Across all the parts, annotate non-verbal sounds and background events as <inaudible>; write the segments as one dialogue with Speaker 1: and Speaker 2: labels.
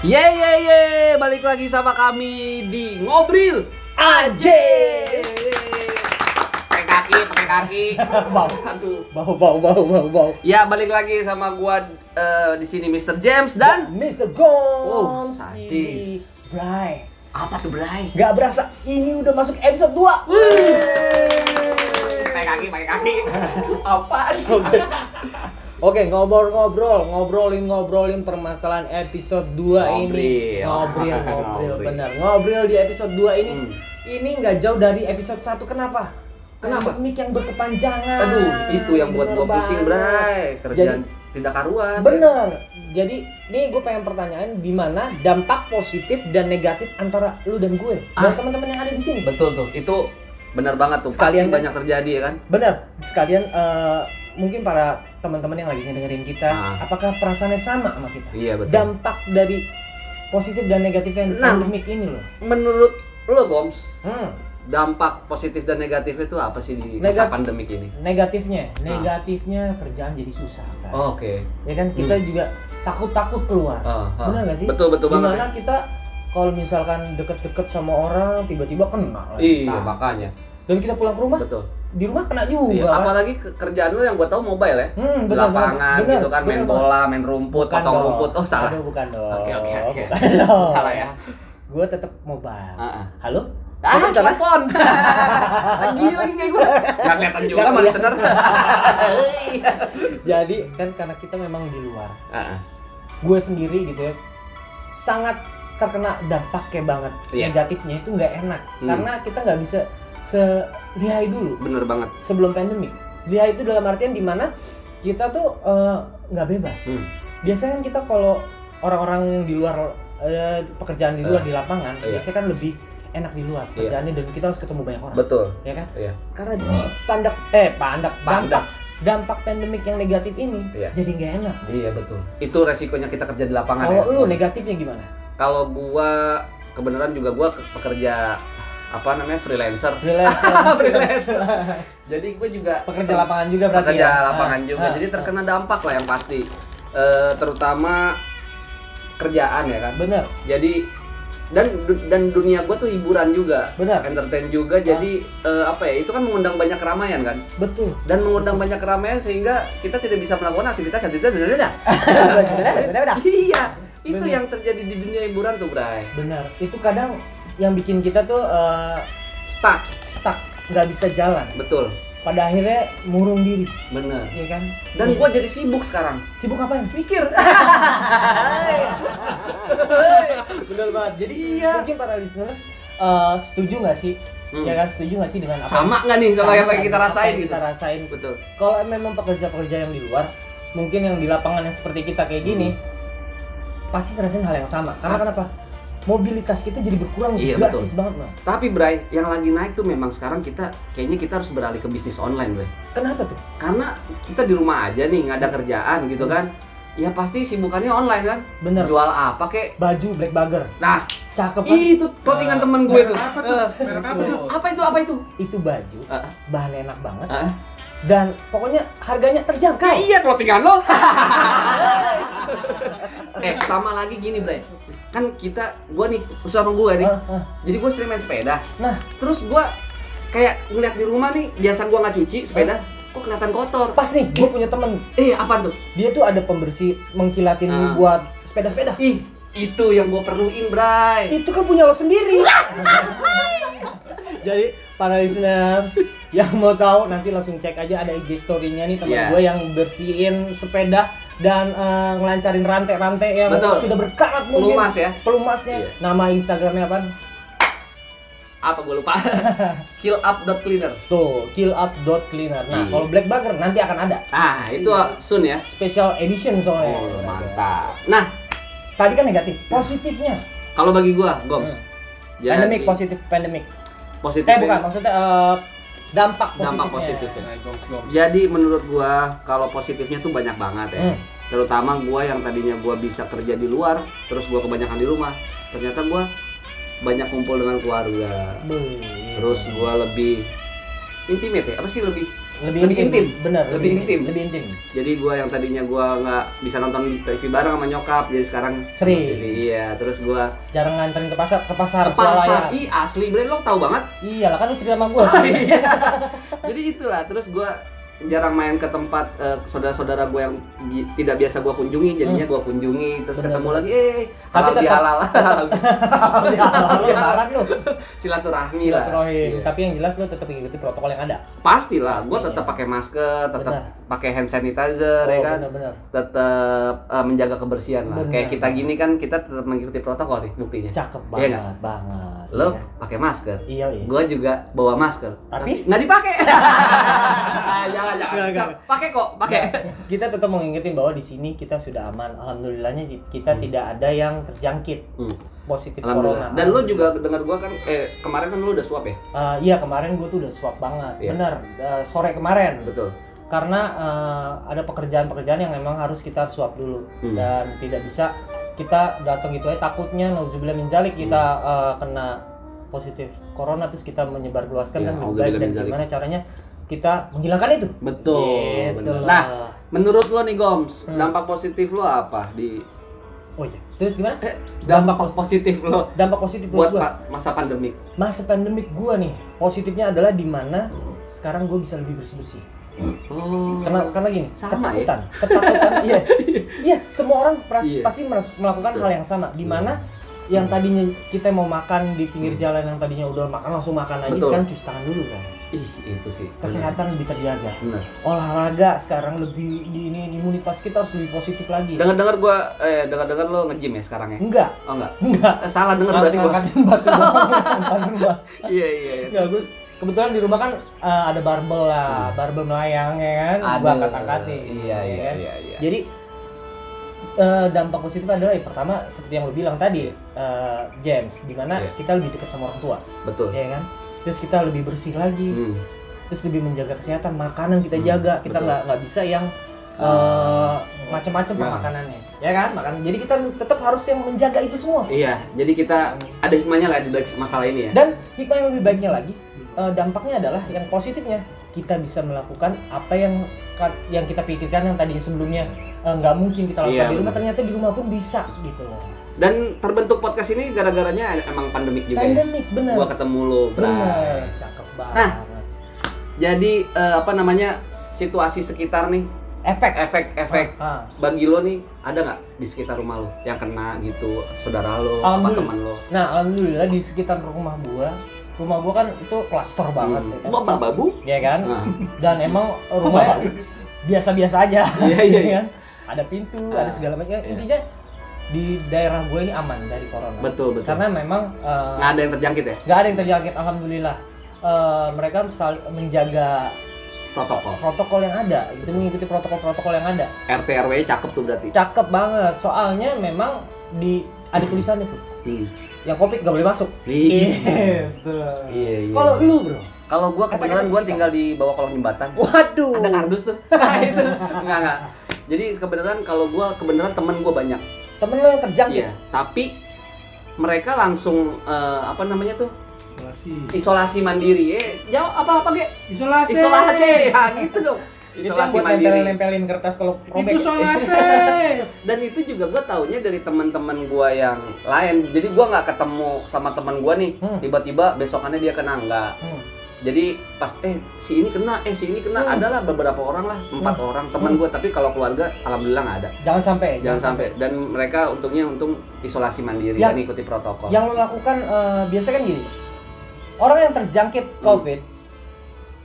Speaker 1: Ye ye ye, balik lagi sama kami di Ngobril AJ.
Speaker 2: pakai kaki pakai
Speaker 1: <laughs>
Speaker 2: kaki
Speaker 3: <laughs> bau
Speaker 2: aduh
Speaker 3: bau bau bau bau bau
Speaker 1: Ya, balik lagi sama gua eh, di sini Mr. James dan
Speaker 3: Mr.
Speaker 1: Wow,
Speaker 3: Gomes
Speaker 1: sadis.
Speaker 3: ini Bray
Speaker 1: apa tuh, Bray?
Speaker 3: Gak berasa ini udah masuk episode 2
Speaker 2: pakai kaki pakai
Speaker 1: <laughs>
Speaker 2: kaki
Speaker 1: Apaan sih?
Speaker 3: Oke ngobrol-ngobrol Ngobrolin-ngobrolin permasalahan episode 2 ini
Speaker 2: Ngobril.
Speaker 1: <laughs>
Speaker 3: Ngobril Ngobril
Speaker 2: Ngobril.
Speaker 3: bener Ngobril di episode 2 ini
Speaker 1: Hmm.
Speaker 3: Ini gak jauh dari episode 1 Kenapa?
Speaker 1: Kenapa?
Speaker 3: Mic yang berkepanjangan
Speaker 1: Aduh, itu yang buat gua
Speaker 3: Bener
Speaker 1: pusing,
Speaker 3: banget.
Speaker 1: Bray. Kerjaan tidak karuan.
Speaker 3: Bener. Jadi, nih gue pengen pertanyaan di mana dampak positif dan negatif antara lu dan gue
Speaker 1: Ah.
Speaker 3: dan teman-teman yang ada di sini.
Speaker 1: Betul tuh. Itu benar banget tuh.
Speaker 3: Sekalian
Speaker 1: Pasti
Speaker 3: kan?
Speaker 1: banyak terjadi ya kan?
Speaker 3: Bener. Sekalian eh, mungkin para teman-teman yang lagi ngedengerin kita,
Speaker 1: Ah.
Speaker 3: apakah perasaannya sama sama kita?
Speaker 1: Iya, betul.
Speaker 3: Dampak dari positif dan negatifnya
Speaker 1: Nah.
Speaker 3: pandemik ini loh.
Speaker 1: Menurut lo, Goms,
Speaker 3: Hmm.
Speaker 1: dampak positif dan negatifnya itu apa sih di
Speaker 3: Negat-
Speaker 1: masa pandemik ini?
Speaker 3: Negatifnya, negatifnya kerjaan jadi susah kan.
Speaker 1: Oh, Oke.
Speaker 3: Ya kan kita juga takut-takut keluar.
Speaker 1: Ah, ah.
Speaker 3: Bener gak sih?
Speaker 1: Betul betul banget. ya.
Speaker 3: Gimana kita kalau misalkan deket-deket sama orang tiba-tiba kena lagi.
Speaker 1: Iya,
Speaker 3: Nah,
Speaker 1: makanya.
Speaker 3: dan kita pulang ke rumah
Speaker 1: Betul.
Speaker 3: di rumah kena
Speaker 1: Iya,
Speaker 3: juga kan?
Speaker 1: apalagi ke- kerjaan lu yang gua tahu mobile ya.
Speaker 3: hmm,
Speaker 1: Di lapangan gitu kan main bola, main rumput, potong rumput. Oh, salah.
Speaker 3: Aduh, bukan dong
Speaker 2: Oke, oke, oke.
Speaker 3: bukan dong
Speaker 2: salah ya
Speaker 3: gue tetap mobile
Speaker 1: Heeh.
Speaker 3: halo
Speaker 1: Ah,
Speaker 3: Apa salah? <laughs>
Speaker 1: telepon. lagi lagi kayak gua.
Speaker 2: nggak kelihatan juga
Speaker 1: Juga
Speaker 3: Nggak,
Speaker 1: malah
Speaker 3: iya.
Speaker 1: tenar. <laughs> Iya.
Speaker 3: jadi kan karena kita memang di luar gue sendiri gitu ya sangat terkena dampaknya banget
Speaker 1: Iya.
Speaker 3: negatifnya itu nggak enak
Speaker 1: Hmm.
Speaker 3: karena kita nggak bisa selihai dulu
Speaker 1: Bener banget.
Speaker 3: sebelum pandemi. Dia itu dalam artian di mana kita tuh eh, nggak bebas.
Speaker 1: Hmm.
Speaker 3: Biasanya kan kita kalau orang-orang yang di luar eh, pekerjaan di luar
Speaker 1: Eh,
Speaker 3: di lapangan,
Speaker 1: iya.
Speaker 3: biasanya kan lebih enak di luar kerjaannya dan kita harus ketemu banyak orang,
Speaker 1: Betul.
Speaker 3: ya kan?
Speaker 1: Iya.
Speaker 3: Karena di pandak eh pandak dampak
Speaker 1: Pandak.
Speaker 3: dampak pandemik yang negatif ini
Speaker 1: Iya.
Speaker 3: jadi nggak enak.
Speaker 1: Iya, betul. Itu resikonya kita kerja di lapangan
Speaker 3: Kalau
Speaker 1: ya.
Speaker 3: lu negatifnya
Speaker 1: <laughs>
Speaker 3: gimana?
Speaker 1: Kalau gua kebenaran juga gua ke- pekerja apa namanya freelancer.
Speaker 3: Freelancer,
Speaker 1: <laughs> Freelancer. Jadi gue juga
Speaker 3: pekerja lapangan juga berarti
Speaker 1: pekerja
Speaker 3: ya?
Speaker 1: lapangan
Speaker 3: Ah,
Speaker 1: juga.
Speaker 3: ah,
Speaker 1: Jadi
Speaker 3: ah.
Speaker 1: terkena dampak lah yang pasti, Eh, terutama kerjaan ya kan.
Speaker 3: bener
Speaker 1: Jadi dan du- dan dunia gue tuh hiburan juga,
Speaker 3: bener
Speaker 1: entertain
Speaker 3: Ah.
Speaker 1: juga. Jadi eh, apa ya? Itu kan mengundang banyak keramaian kan, <laughs>
Speaker 3: betul.
Speaker 1: dan mengundang banyak keramaian sehingga kita tidak bisa melakukan aktivitas aktivitas bener <laughs> Iya, itu
Speaker 3: Ah. Bener.
Speaker 1: yang terjadi di dunia hiburan tuh, Bray.
Speaker 3: Benar, itu kadang yang bikin kita tuh eh,
Speaker 1: Stuck,
Speaker 3: stuck, nggak bisa jalan.
Speaker 1: betul,
Speaker 3: Pada akhirnya murung diri,
Speaker 1: bener.
Speaker 3: ya kan?
Speaker 1: Dan gue jadi sibuk sekarang.
Speaker 3: sibuk ngapain?
Speaker 1: Mikir.
Speaker 3: Bener banget. Jadi
Speaker 1: Iya.
Speaker 3: mungkin para listeners eh, setuju nggak sih?
Speaker 1: Hmm.
Speaker 3: <laughs> Ya kan setuju nggak sih dengan apa?
Speaker 1: sama nggak nih sama,
Speaker 3: Sama
Speaker 1: yang
Speaker 3: kan?
Speaker 1: kayak kita
Speaker 3: Apa
Speaker 1: rasain
Speaker 3: yang
Speaker 1: gitu
Speaker 3: Kita rasain.
Speaker 1: betul
Speaker 3: Kalau memang pekerja-pekerja yang di luar, mungkin yang di lapangan yang seperti kita kayak gini, pasti ngerasain hal yang sama. Karena kenapa? Mobilitas kita jadi berkurang
Speaker 1: Iya,
Speaker 3: drastis banget, Bang.
Speaker 1: tapi Bray yang lagi naik tuh memang sekarang kita kayaknya kita harus beralih ke bisnis online Bray
Speaker 3: Kenapa tuh?
Speaker 1: karena kita di rumah aja nih nggak ada kerjaan gitu
Speaker 3: Hmm.
Speaker 1: kan ya pasti sibukannya online kan
Speaker 3: Bener.
Speaker 1: jual apa kek
Speaker 3: Baju black bagger.
Speaker 1: nah
Speaker 3: Cakep kan?
Speaker 1: itu clothingan
Speaker 3: Nah.
Speaker 1: temen gue tuh
Speaker 2: Apa
Speaker 1: Eh,
Speaker 2: merek apa tuh
Speaker 1: apa itu apa itu
Speaker 3: itu baju
Speaker 1: Ah.
Speaker 3: bahan enak banget
Speaker 1: Ah.
Speaker 3: dan pokoknya harganya
Speaker 1: nah,
Speaker 3: terjangkau
Speaker 1: iya clothingan lo <laughs> eh sama lagi gini Bray kan kita gue nih sama gue nih
Speaker 2: Eh.
Speaker 3: Ah, ah.
Speaker 1: jadi gue sering main sepeda
Speaker 3: Nah.
Speaker 1: terus gue kayak ngeliat di rumah nih biasa gue nggak cuci
Speaker 2: Eh.
Speaker 1: sepeda kok kelihatan kotor
Speaker 3: pas nih gue punya temen
Speaker 1: eh apa tuh
Speaker 3: dia tuh ada pembersih mengkilatin
Speaker 1: Ah.
Speaker 3: buat sepeda-sepeda
Speaker 1: ih itu yang gue perluin bray
Speaker 3: itu kan punya lo sendiri <laughs> jadi para listeners yang mau tahu nanti langsung cek aja ada IG story-nya nih teman
Speaker 1: Iya.
Speaker 3: gue yang bersihin sepeda dan eh, ngelancarin rantai-rantai yang
Speaker 1: Betul.
Speaker 3: sudah berkarat mungkin
Speaker 1: lumas ya
Speaker 3: pelumasnya
Speaker 1: Iya.
Speaker 3: nama Instagramnya apa
Speaker 1: apa gue
Speaker 3: <laughs>
Speaker 1: lupa kill up dot cleaner
Speaker 3: tuh kill up cleaner nah
Speaker 1: Iya.
Speaker 3: kalau black bagger nanti akan ada
Speaker 1: ah itu
Speaker 3: Iya.
Speaker 1: sun ya
Speaker 3: special edition soalnya.
Speaker 1: oh mantap nah
Speaker 3: Tadi kan negatif, positifnya.
Speaker 1: kalau bagi gue goms
Speaker 3: Hmm.
Speaker 1: jadi
Speaker 3: Pandemic positif, pandemic.
Speaker 1: Ya, positif
Speaker 3: Eh bukan, maksudnya eh, dampak positifnya.
Speaker 1: Dampak positifnya. jadi menurut gue kalau positifnya tuh banyak banget ya
Speaker 3: Hmm.
Speaker 1: terutama gua yang tadinya gua bisa kerja di luar terus gua kebanyakan di rumah ternyata gua banyak kumpul dengan keluarga
Speaker 3: Be-
Speaker 1: terus gua lebih intimate ya apa sih lebih
Speaker 3: lebih,
Speaker 1: Lebih intim.
Speaker 3: benar
Speaker 1: Lebih intim.
Speaker 3: lebih intim
Speaker 1: jadi gue yang tadinya gue nggak bisa nonton di TV bareng sama nyokap jadi sekarang
Speaker 3: sering
Speaker 1: iya terus gue
Speaker 3: jarang nganterin ke pasar ke pasar
Speaker 1: ke pasar
Speaker 3: swalayan.
Speaker 1: ih asli bre lo tau banget
Speaker 3: iyalah kan lu cerita sama gua
Speaker 1: <laughs>
Speaker 3: sih
Speaker 1: Iya. jadi itulah terus gue jarang main ke tempat eh, saudara-saudara gue yang bi- tidak biasa gue kunjungi jadinya gue kunjungi terus
Speaker 3: Hmm. Bener.
Speaker 1: ketemu lagi eh
Speaker 3: Tapi
Speaker 1: halal
Speaker 3: tetap-
Speaker 1: bihalal
Speaker 3: <laughs>
Speaker 1: <laughs>
Speaker 3: ya lu barat lu
Speaker 1: silaturahmi lah
Speaker 3: silaturahim
Speaker 1: Iya.
Speaker 3: tapi yang jelas lu tetap ikuti protokol yang ada
Speaker 1: pastilah gue
Speaker 3: Pastinya.
Speaker 1: tetap pakai masker tetap
Speaker 3: benar
Speaker 1: pakai hand sanitizer ya
Speaker 3: Oh,
Speaker 1: kan
Speaker 3: benar-benar
Speaker 1: tetap eh, menjaga kebersihan lah
Speaker 3: Bener.
Speaker 1: kayak kita gini kan kita tetap mengikuti protokol nih buktinya
Speaker 3: cakep
Speaker 1: Iya
Speaker 3: banget banget
Speaker 1: lo
Speaker 3: ya.
Speaker 1: pakai masker
Speaker 3: iya iya
Speaker 1: gue juga bawa masker
Speaker 3: Tapi?
Speaker 1: nggak
Speaker 3: <laughs>
Speaker 1: dipakai jangan
Speaker 3: Nggak, nggak.
Speaker 1: jangan pakai kok pakai
Speaker 3: Nah, kita tetap mengingetin bahwa di sini kita sudah aman alhamdulillahnya kita
Speaker 1: Hmm.
Speaker 3: tidak ada yang terjangkit
Speaker 1: Hmm.
Speaker 3: positif
Speaker 1: Alhamdulillah.
Speaker 3: corona
Speaker 1: Dan lu juga dengar gua kan eh kemarin kan lu udah swab ya?
Speaker 3: Eh, iya kemarin gue tuh udah swab banget
Speaker 1: Iya.
Speaker 3: bener eh, sore kemarin
Speaker 1: Betul.
Speaker 3: karena eh, ada pekerjaan-pekerjaan yang memang harus kita swab dulu
Speaker 1: Hmm.
Speaker 3: dan tidak bisa kita datang gitu aja takutnya nauzubillah min zalik kita
Speaker 1: Hmm.
Speaker 3: eh, kena positif corona terus kita menyebar luaskan
Speaker 1: Iya,
Speaker 3: kan lebih baik
Speaker 1: nauzubillah
Speaker 3: dan
Speaker 1: min zalik.
Speaker 3: gimana caranya kita menghilangkan itu
Speaker 1: Betul.
Speaker 3: Gitu
Speaker 1: bener.
Speaker 3: loh.
Speaker 1: Nah, menurut lo nih Goms,
Speaker 3: Hmm.
Speaker 1: dampak positif lo apa di
Speaker 3: oh iya terus gimana
Speaker 1: dampak
Speaker 3: Dampak
Speaker 1: positif lo
Speaker 3: dampak positif
Speaker 1: buat
Speaker 3: buat gua
Speaker 1: pa- masa pandemik?
Speaker 3: masa pandemik gua nih positifnya adalah di mana sekarang gue bisa lebih bersih bersih
Speaker 1: Oh.
Speaker 3: karena <laughs> karena gini
Speaker 1: Sama ya?
Speaker 3: ketakutan ketakutan iya iya semua orang pras-
Speaker 1: Iya.
Speaker 3: pasti meras- melakukan
Speaker 1: Betul. Iya.
Speaker 3: hal yang sama di mana yang tadinya kita mau makan di pinggir jalan yang tadinya udah makan langsung makan aja
Speaker 1: Betul.
Speaker 3: sekarang cuci tangan dulu kan
Speaker 1: Ih, itu sih. Bener.
Speaker 3: kesehatan lebih terjaga
Speaker 1: Bener.
Speaker 3: olahraga sekarang lebih di ini imunitas kita harus lebih positif lagi
Speaker 1: Dengar-dengar gua eh dengar-dengar lo nge-gym ya sekarang ya?
Speaker 3: enggak
Speaker 1: Oh enggak.
Speaker 3: enggak
Speaker 1: Eh, salah denger berarti gua.
Speaker 3: Ngangkatin batu depan rumah
Speaker 1: Iya, iya, iya.
Speaker 3: Enggak, gua- kebetulan di rumah kan eh, ada barbel
Speaker 1: Hmm.
Speaker 3: lah, barbel melayang ya kan,
Speaker 1: Aduh.
Speaker 3: gua angkat-angkatin.
Speaker 1: Iya,
Speaker 3: ya
Speaker 1: iya,
Speaker 3: kan?
Speaker 1: iya, iya.
Speaker 3: Jadi eh, dampak positif adalah yang pertama seperti yang lo bilang tadi, eh, James, dimana
Speaker 1: Iya.
Speaker 3: kita lebih dekat sama orang tua,
Speaker 1: Betul.
Speaker 3: ya kan? Terus kita lebih bersih lagi,
Speaker 1: Hmm.
Speaker 3: terus lebih menjaga kesehatan, makanan kita
Speaker 1: Hmm,
Speaker 3: jaga, kita
Speaker 1: betul.
Speaker 3: nggak nggak bisa yang eh,
Speaker 1: Ah.
Speaker 3: macam-macam
Speaker 1: Nah.
Speaker 3: makanannya, ya kan? Makan. Jadi kita tetap harus yang menjaga itu semua.
Speaker 1: Iya, jadi kita ada hikmahnya lah di balik masalah ini ya.
Speaker 3: Dan hikmah yang lebih baiknya lagi, eh, dampaknya adalah yang positifnya kita bisa melakukan apa yang ka- yang kita pikirkan yang tadinya sebelumnya eh, nggak mungkin kita lakukan
Speaker 1: Iya,
Speaker 3: di rumah,
Speaker 1: benar.
Speaker 3: ternyata di rumah pun bisa gitu loh.
Speaker 1: Dan terbentuk podcast ini gara-garanya emang pandemik juga ya.
Speaker 3: Pandemik bener,
Speaker 1: gua ketemu lu
Speaker 3: bener,
Speaker 1: Bray.
Speaker 3: cakep banget.
Speaker 1: Nah. jadi eh, apa namanya situasi sekitar nih
Speaker 3: efek,
Speaker 1: efek-efek
Speaker 3: Ah, ah.
Speaker 1: bagi lo nih ada nggak di sekitar rumah lo yang kena gitu saudara lo apa
Speaker 3: Alhamdulillah.
Speaker 1: teman lo
Speaker 3: Nah, alhamdulillah di sekitar rumah gua, rumah gua kan itu klaster banget,
Speaker 1: Hmm.
Speaker 3: ya kan?
Speaker 1: bapak
Speaker 3: <laughs>
Speaker 1: babu
Speaker 3: Iya kan?
Speaker 1: Nah,
Speaker 3: Dan emang rumahnya biasa-biasa aja.
Speaker 1: <laughs> iya iya
Speaker 3: Iya
Speaker 1: iya.
Speaker 3: kan? Ada pintu,
Speaker 1: Ah,
Speaker 3: ada segala macam.
Speaker 1: iya.
Speaker 3: Intinya di daerah gue ini aman dari corona.
Speaker 1: betul betul
Speaker 3: Karena memang eh,
Speaker 1: nggak ada yang terjangkit ya
Speaker 3: nggak ada yang terjangkit, alhamdulillah. Eh, mereka sal- menjaga
Speaker 1: protokol
Speaker 3: protokol yang ada, gitu mengikuti protokol-protokol yang ada.
Speaker 1: RT RW cakep tuh berarti
Speaker 3: Cakep banget. Soalnya memang di ada tulisannya tuh,
Speaker 1: Hmm.
Speaker 3: yang covid nggak boleh masuk.
Speaker 1: Ih. iya iya
Speaker 3: Kalau lu bro,
Speaker 1: kalau gua kebetulan
Speaker 3: Efek-efek
Speaker 1: gua
Speaker 3: sekitar.
Speaker 1: tinggal di bawah kolong jembatan
Speaker 3: waduh.
Speaker 1: ada kardus
Speaker 3: <laughs>
Speaker 1: tuh Nah, itu nggak nggak jadi kebenaran kalau gua kebenaran temen gua banyak
Speaker 3: Temen lu yang terjangkit.
Speaker 1: Iya, tapi mereka langsung eh, apa namanya tuh
Speaker 4: Isolasi.
Speaker 1: isolasi mandiri. Eh, jauh apa apa ge?
Speaker 4: Isolasi.
Speaker 1: Isolasi, <laughs> ya gitu dong. Isolasi
Speaker 3: itu yang buat
Speaker 1: mandiri.
Speaker 3: nempelin kertas kalau
Speaker 4: Itu
Speaker 3: robek.
Speaker 4: isolasi.
Speaker 1: Dan itu juga gua taunya dari teman-teman gua yang lain. Jadi gua nggak ketemu sama teman gua nih.
Speaker 3: Hmm.
Speaker 1: Tiba-tiba besokannya dia kena nggak.
Speaker 3: Hmm.
Speaker 1: Jadi pas eh si ini kena, eh si ini kena.
Speaker 3: Hmm.
Speaker 1: Adalah beberapa orang lah, empat orang teman gua. Tapi kalau keluarga, alhamdulillah nggak ada.
Speaker 3: Jangan sampai.
Speaker 1: Jangan sampai. Dan mereka untungnya untung isolasi mandiri
Speaker 3: Ya.
Speaker 1: dan ikuti protokol.
Speaker 3: yang lo lakukan eh, biasa kan gini orang yang terjangkit covid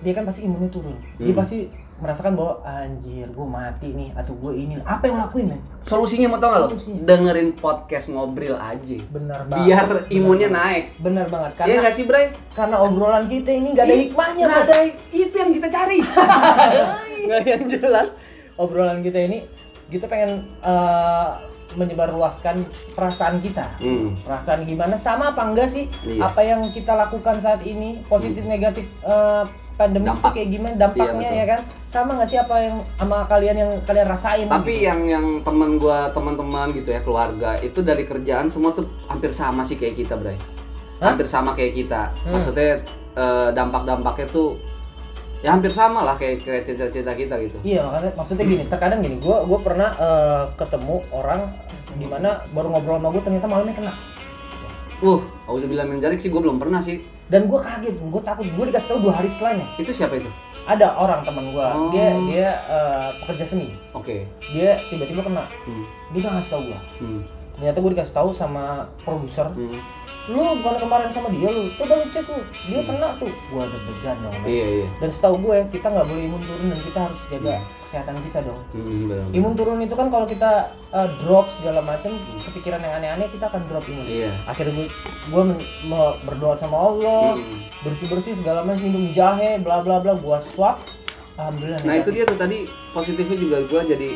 Speaker 3: dia kan pasti imunnya turun dia
Speaker 1: Hmm.
Speaker 3: pasti merasakan bahwa anjir gue mati nih atau gue ini apa yang lakuin men
Speaker 1: Solusinya mau tau gak lo?
Speaker 3: Solusinya.
Speaker 1: Dengerin podcast ngobril aja
Speaker 3: bener banget
Speaker 1: Biar imunnya
Speaker 3: Bener
Speaker 1: naik
Speaker 3: banget. bener banget karena Iya,
Speaker 1: Iya gak sih Bray?
Speaker 3: karena obrolan kita ini nggak ada
Speaker 1: Ih,
Speaker 3: hikmahnya
Speaker 1: Gak
Speaker 3: Bro.
Speaker 1: ada, itu yang kita
Speaker 3: <laughs>
Speaker 1: cari
Speaker 3: nggak yang jelas obrolan kita ini kita pengen eh, menyebarluaskan perasaan kita
Speaker 1: hmm,
Speaker 3: perasaan gimana sama apa enggak sih
Speaker 1: Iya. Hmm.
Speaker 3: apa yang kita lakukan saat ini positif negatif eh, pandemi itu
Speaker 1: Dampak.
Speaker 3: kayak gimana dampaknya
Speaker 1: Iya,
Speaker 3: ya kan sama nggak sih apa yang sama kalian yang kalian rasain
Speaker 1: Tapi iya.
Speaker 3: gitu?
Speaker 1: yang yang temen gua, teman-teman gitu ya, keluarga Itu dari kerjaan semua tuh hampir sama sih kayak kita Bray
Speaker 3: Hah?
Speaker 1: Hampir sama kayak kita
Speaker 3: Hmm.
Speaker 1: Maksudnya eh, dampak-dampaknya tuh ya hampir sama lah kayak kayak cita-cita kita gitu
Speaker 3: Iya makanya maksudnya gini, terkadang gini, gue gua pernah eh, ketemu orang dimana baru ngobrol sama gue ternyata malamnya kena
Speaker 1: uh aku bilang menjalik sih gue belum pernah sih
Speaker 3: dan gue kaget, gue takut, gue dikasih tahu dua hari setelahnya
Speaker 1: itu siapa itu
Speaker 3: ada orang teman gue,
Speaker 1: Oh.
Speaker 3: dia dia eh, pekerja seni,
Speaker 1: oke
Speaker 3: dia tiba-tiba kena,
Speaker 1: Hmm.
Speaker 3: dia nggak ngasih tahu gue,
Speaker 1: Hmm.
Speaker 3: ternyata gue dikasih tahu sama produser,
Speaker 1: Hmm.
Speaker 3: lu bukan kemarin sama dia lu, coba lu cek lu, dia kena tuh, gue deg-degan dong,
Speaker 1: iya iya
Speaker 3: dan setahu gue kita nggak boleh imun turun dan kita harus jaga kesehatan kita dong.
Speaker 1: hmm, benar.
Speaker 3: Imun turun itu kan kalau kita uh, drop segala macam kepikiran yang aneh-aneh kita akan drop imun.
Speaker 1: iya
Speaker 3: Akhirnya gue gue men- me- berdoa sama Allah,
Speaker 1: Hmm.
Speaker 3: bersih-bersih segala macam minum jahe bla bla bla gua swab. Alhamdulillah. ya.
Speaker 1: Nah itu
Speaker 3: negatif.
Speaker 1: dia tuh tadi positifnya juga gua jadi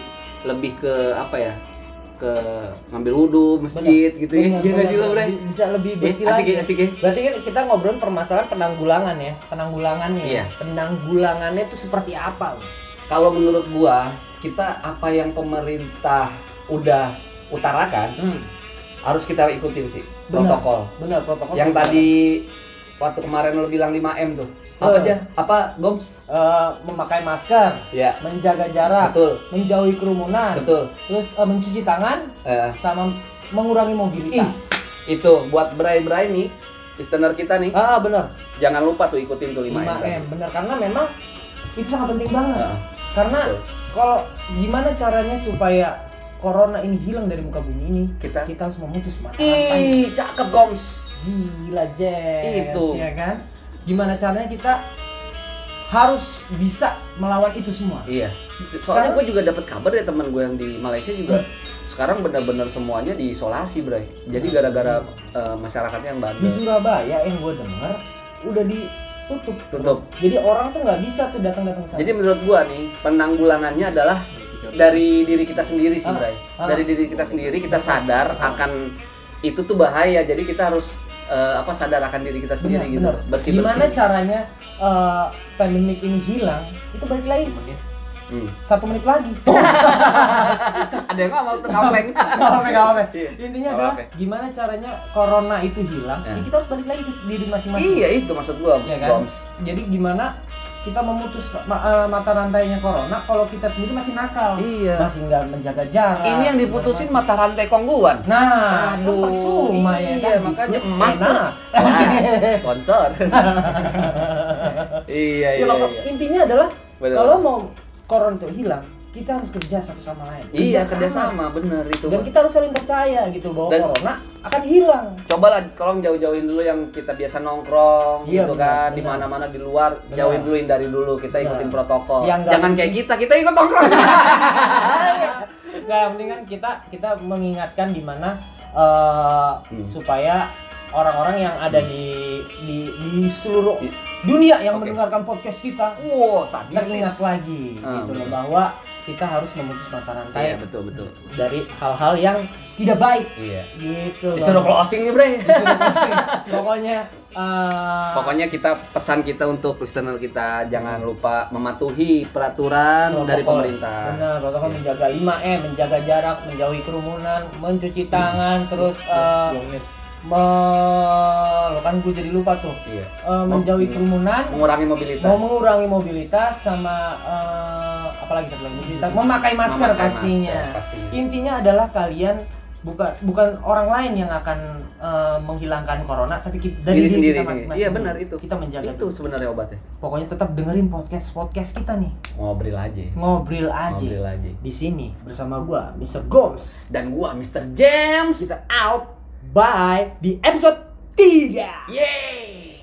Speaker 1: lebih ke apa ya ke ngambil wudhu masjid gitu ya
Speaker 3: Bener,
Speaker 1: Iya nggak sih lo
Speaker 3: bener,
Speaker 1: bre?
Speaker 3: bi- bisa lebih
Speaker 1: Eh,
Speaker 3: bersih
Speaker 1: asik
Speaker 3: lagi.
Speaker 1: ya asik ya.
Speaker 3: Berarti kan kita ngobrolin permasalahan penanggulangan ya, penanggulangannya.
Speaker 1: Iya.
Speaker 3: Penanggulangannya itu seperti apa? Bro?
Speaker 1: Kalau menurut gua kita apa yang pemerintah udah utarakan
Speaker 3: Hmm,
Speaker 1: harus kita ikutin sih
Speaker 3: Benar. Oh,
Speaker 1: protokol.
Speaker 3: benar protokol.
Speaker 1: Yang
Speaker 3: protokol.
Speaker 1: tadi waktu kemarin lo bilang 5 m tuh apa
Speaker 3: Eh.
Speaker 1: aja? Apa Goms?
Speaker 3: Eh, memakai masker,
Speaker 1: Ya
Speaker 3: menjaga jarak,
Speaker 1: betul
Speaker 3: menjauhi kerumunan,
Speaker 1: betul.
Speaker 3: terus eh, mencuci tangan
Speaker 1: Eh,
Speaker 3: sama mengurangi mobilitas.
Speaker 1: itu buat berai-berai nih listener kita nih
Speaker 3: Ah benar,
Speaker 1: jangan lupa tuh ikutin tuh 5 m.
Speaker 3: 5M benar karena memang itu sangat penting banget.
Speaker 1: Heeh.
Speaker 3: Karena
Speaker 1: Ah, betul.
Speaker 3: kalau gimana caranya supaya corona ini hilang dari muka bumi ini,
Speaker 1: kita
Speaker 3: kita harus memutus mata rantai.
Speaker 1: Ih, cakep Goms.
Speaker 3: Gila James,
Speaker 1: Itu.
Speaker 3: ya kan? Gimana caranya kita harus bisa melawan itu semua?
Speaker 1: Iya.
Speaker 3: Sekarang- Hmm.
Speaker 1: Soalnya gue juga dapat kabar ya teman gue yang di Malaysia juga sekarang benar-benar semuanya diisolasi, Bray. Jadi
Speaker 3: Hmm.
Speaker 1: gara-gara eh, masyarakatnya yang
Speaker 3: Di
Speaker 1: bandel.
Speaker 3: Surabaya yang gue denger udah ditutup.
Speaker 1: Tutup.
Speaker 3: Jadi orang tuh nggak bisa tuh datang-datang ke sana.
Speaker 1: Jadi menurut gue nih, penanggulangannya adalah dari diri kita sendiri sih,
Speaker 3: Ah,
Speaker 1: Bray.
Speaker 3: ah.
Speaker 1: Dari diri kita sendiri kita sadar
Speaker 3: Ah.
Speaker 1: akan itu tuh bahaya. Jadi kita harus eh, apa sadar akan diri kita sendiri
Speaker 3: Benar,
Speaker 1: gitu.
Speaker 3: benar. gimana
Speaker 1: Bersih-bersih.
Speaker 3: caranya eh, pandemik ini hilang? Itu balik lagi
Speaker 1: Hmm.
Speaker 3: satu menit
Speaker 1: <laughs>
Speaker 3: lagi.
Speaker 1: Ada yang mau tuh kampleng.
Speaker 3: <laughs> Nggak apa-apa, nggak apa-apa. Intinya
Speaker 1: Nggak
Speaker 3: adalah
Speaker 1: apa-apa.
Speaker 3: gimana caranya corona itu hilang?
Speaker 1: Ya.
Speaker 3: ya kita harus balik lagi ke diri masing-masing.
Speaker 1: Iya, itu maksud gue,
Speaker 3: Iya kan?
Speaker 1: Goms.
Speaker 3: Jadi gimana kita memutus ma- eh, mata rantainya corona kalau kita sendiri masih nakal,
Speaker 1: Iya.
Speaker 3: masih nggak menjaga jarak.
Speaker 1: Ini yang diputusin mata rantai
Speaker 3: <laughs>
Speaker 1: kongguan.
Speaker 3: Nah, kan
Speaker 1: Aduh,
Speaker 3: percuma ya
Speaker 1: iya,
Speaker 3: kan,
Speaker 1: makanya
Speaker 3: bisnis
Speaker 1: emas <laughs> tuh. Iya,
Speaker 3: enak.
Speaker 1: Wah,
Speaker 3: <laughs>
Speaker 1: sponsor. iya, iya,
Speaker 3: Ya, maka-
Speaker 1: iya.
Speaker 3: Intinya adalah
Speaker 1: Betul.
Speaker 3: kalau mau corona itu hilang, kita harus kerja satu sama lain.
Speaker 1: iya kerjasama, bener itu.
Speaker 3: dan
Speaker 1: Bang.
Speaker 3: kita harus saling percaya gitu bahwa
Speaker 1: Dan-
Speaker 3: corona akan hilang
Speaker 1: Coba lah tolong jauh-jauhin dulu yang kita biasa nongkrong
Speaker 3: Iya,
Speaker 1: gitu
Speaker 3: benar,
Speaker 1: kan
Speaker 3: benar.
Speaker 1: di mana-mana di luar
Speaker 3: Benar.
Speaker 1: jauhin dulu hindari dulu kita
Speaker 3: Benar.
Speaker 1: ikutin protokol.
Speaker 3: Yang nggak-
Speaker 1: Jangan kayak kita, kita ikut nongkrong.
Speaker 3: <laughs>
Speaker 1: Ah, iya.
Speaker 3: nah yang penting kan kita kita mengingatkan di mana eh,
Speaker 1: Hmm.
Speaker 3: supaya orang-orang yang ada di di di seluruh
Speaker 1: I-
Speaker 3: dunia yang
Speaker 1: Oke.
Speaker 3: mendengarkan podcast kita
Speaker 1: wow,
Speaker 3: teringat
Speaker 1: sadistis.
Speaker 3: lagi
Speaker 1: Ah,
Speaker 3: gitu loh
Speaker 1: benar.
Speaker 3: bahwa kita harus memutus mata rantai
Speaker 1: Iya, betul, betul.
Speaker 3: dari hal-hal yang tidak baik
Speaker 1: Iya.
Speaker 3: gitu loh.
Speaker 1: Disuruh closing nih, Bre.
Speaker 3: Disuruh closing. pokoknya eh,
Speaker 1: Pokoknya kita pesan kita untuk listener kita jangan lupa mematuhi peraturan dari
Speaker 3: Protokol.
Speaker 1: pemerintah.
Speaker 3: Benar, protokol
Speaker 1: Iya.
Speaker 3: menjaga 5M, menjaga jarak, menjauhi kerumunan, mencuci tangan, terus
Speaker 1: Iya.
Speaker 3: eh, me- lo kan gue jadi lupa tuh.
Speaker 1: Iya.
Speaker 3: Eh, menjauhi
Speaker 1: Mau-
Speaker 3: kerumunan,
Speaker 1: Mengurangi mobilitas.
Speaker 3: mau mengurangi mobilitas sama eh, apalagi satu lagi mobilitas, memakai masker
Speaker 1: Memakai
Speaker 3: pastinya.
Speaker 1: masker, pastinya.
Speaker 3: Intinya adalah kalian bukan bukan orang lain yang akan eh, menghilangkan corona, tapi kita, dari
Speaker 1: Diri sendiri,
Speaker 3: diri kita
Speaker 1: sendiri.
Speaker 3: masing-masing.
Speaker 1: Iya,
Speaker 3: dulu.
Speaker 1: benar, itu.
Speaker 3: Kita menjaga
Speaker 1: Itu
Speaker 3: dulu.
Speaker 1: sebenarnya obatnya.
Speaker 3: Pokoknya tetap dengerin podcast podcast kita nih,
Speaker 1: Ngobrol aja.
Speaker 3: ngobrol aja.
Speaker 1: Ngobrol aja.
Speaker 3: di sini bersama gua Mr. Gomes.
Speaker 1: Dan gua Mr. James.
Speaker 3: Kita out bye di episode 3.
Speaker 1: Yeay.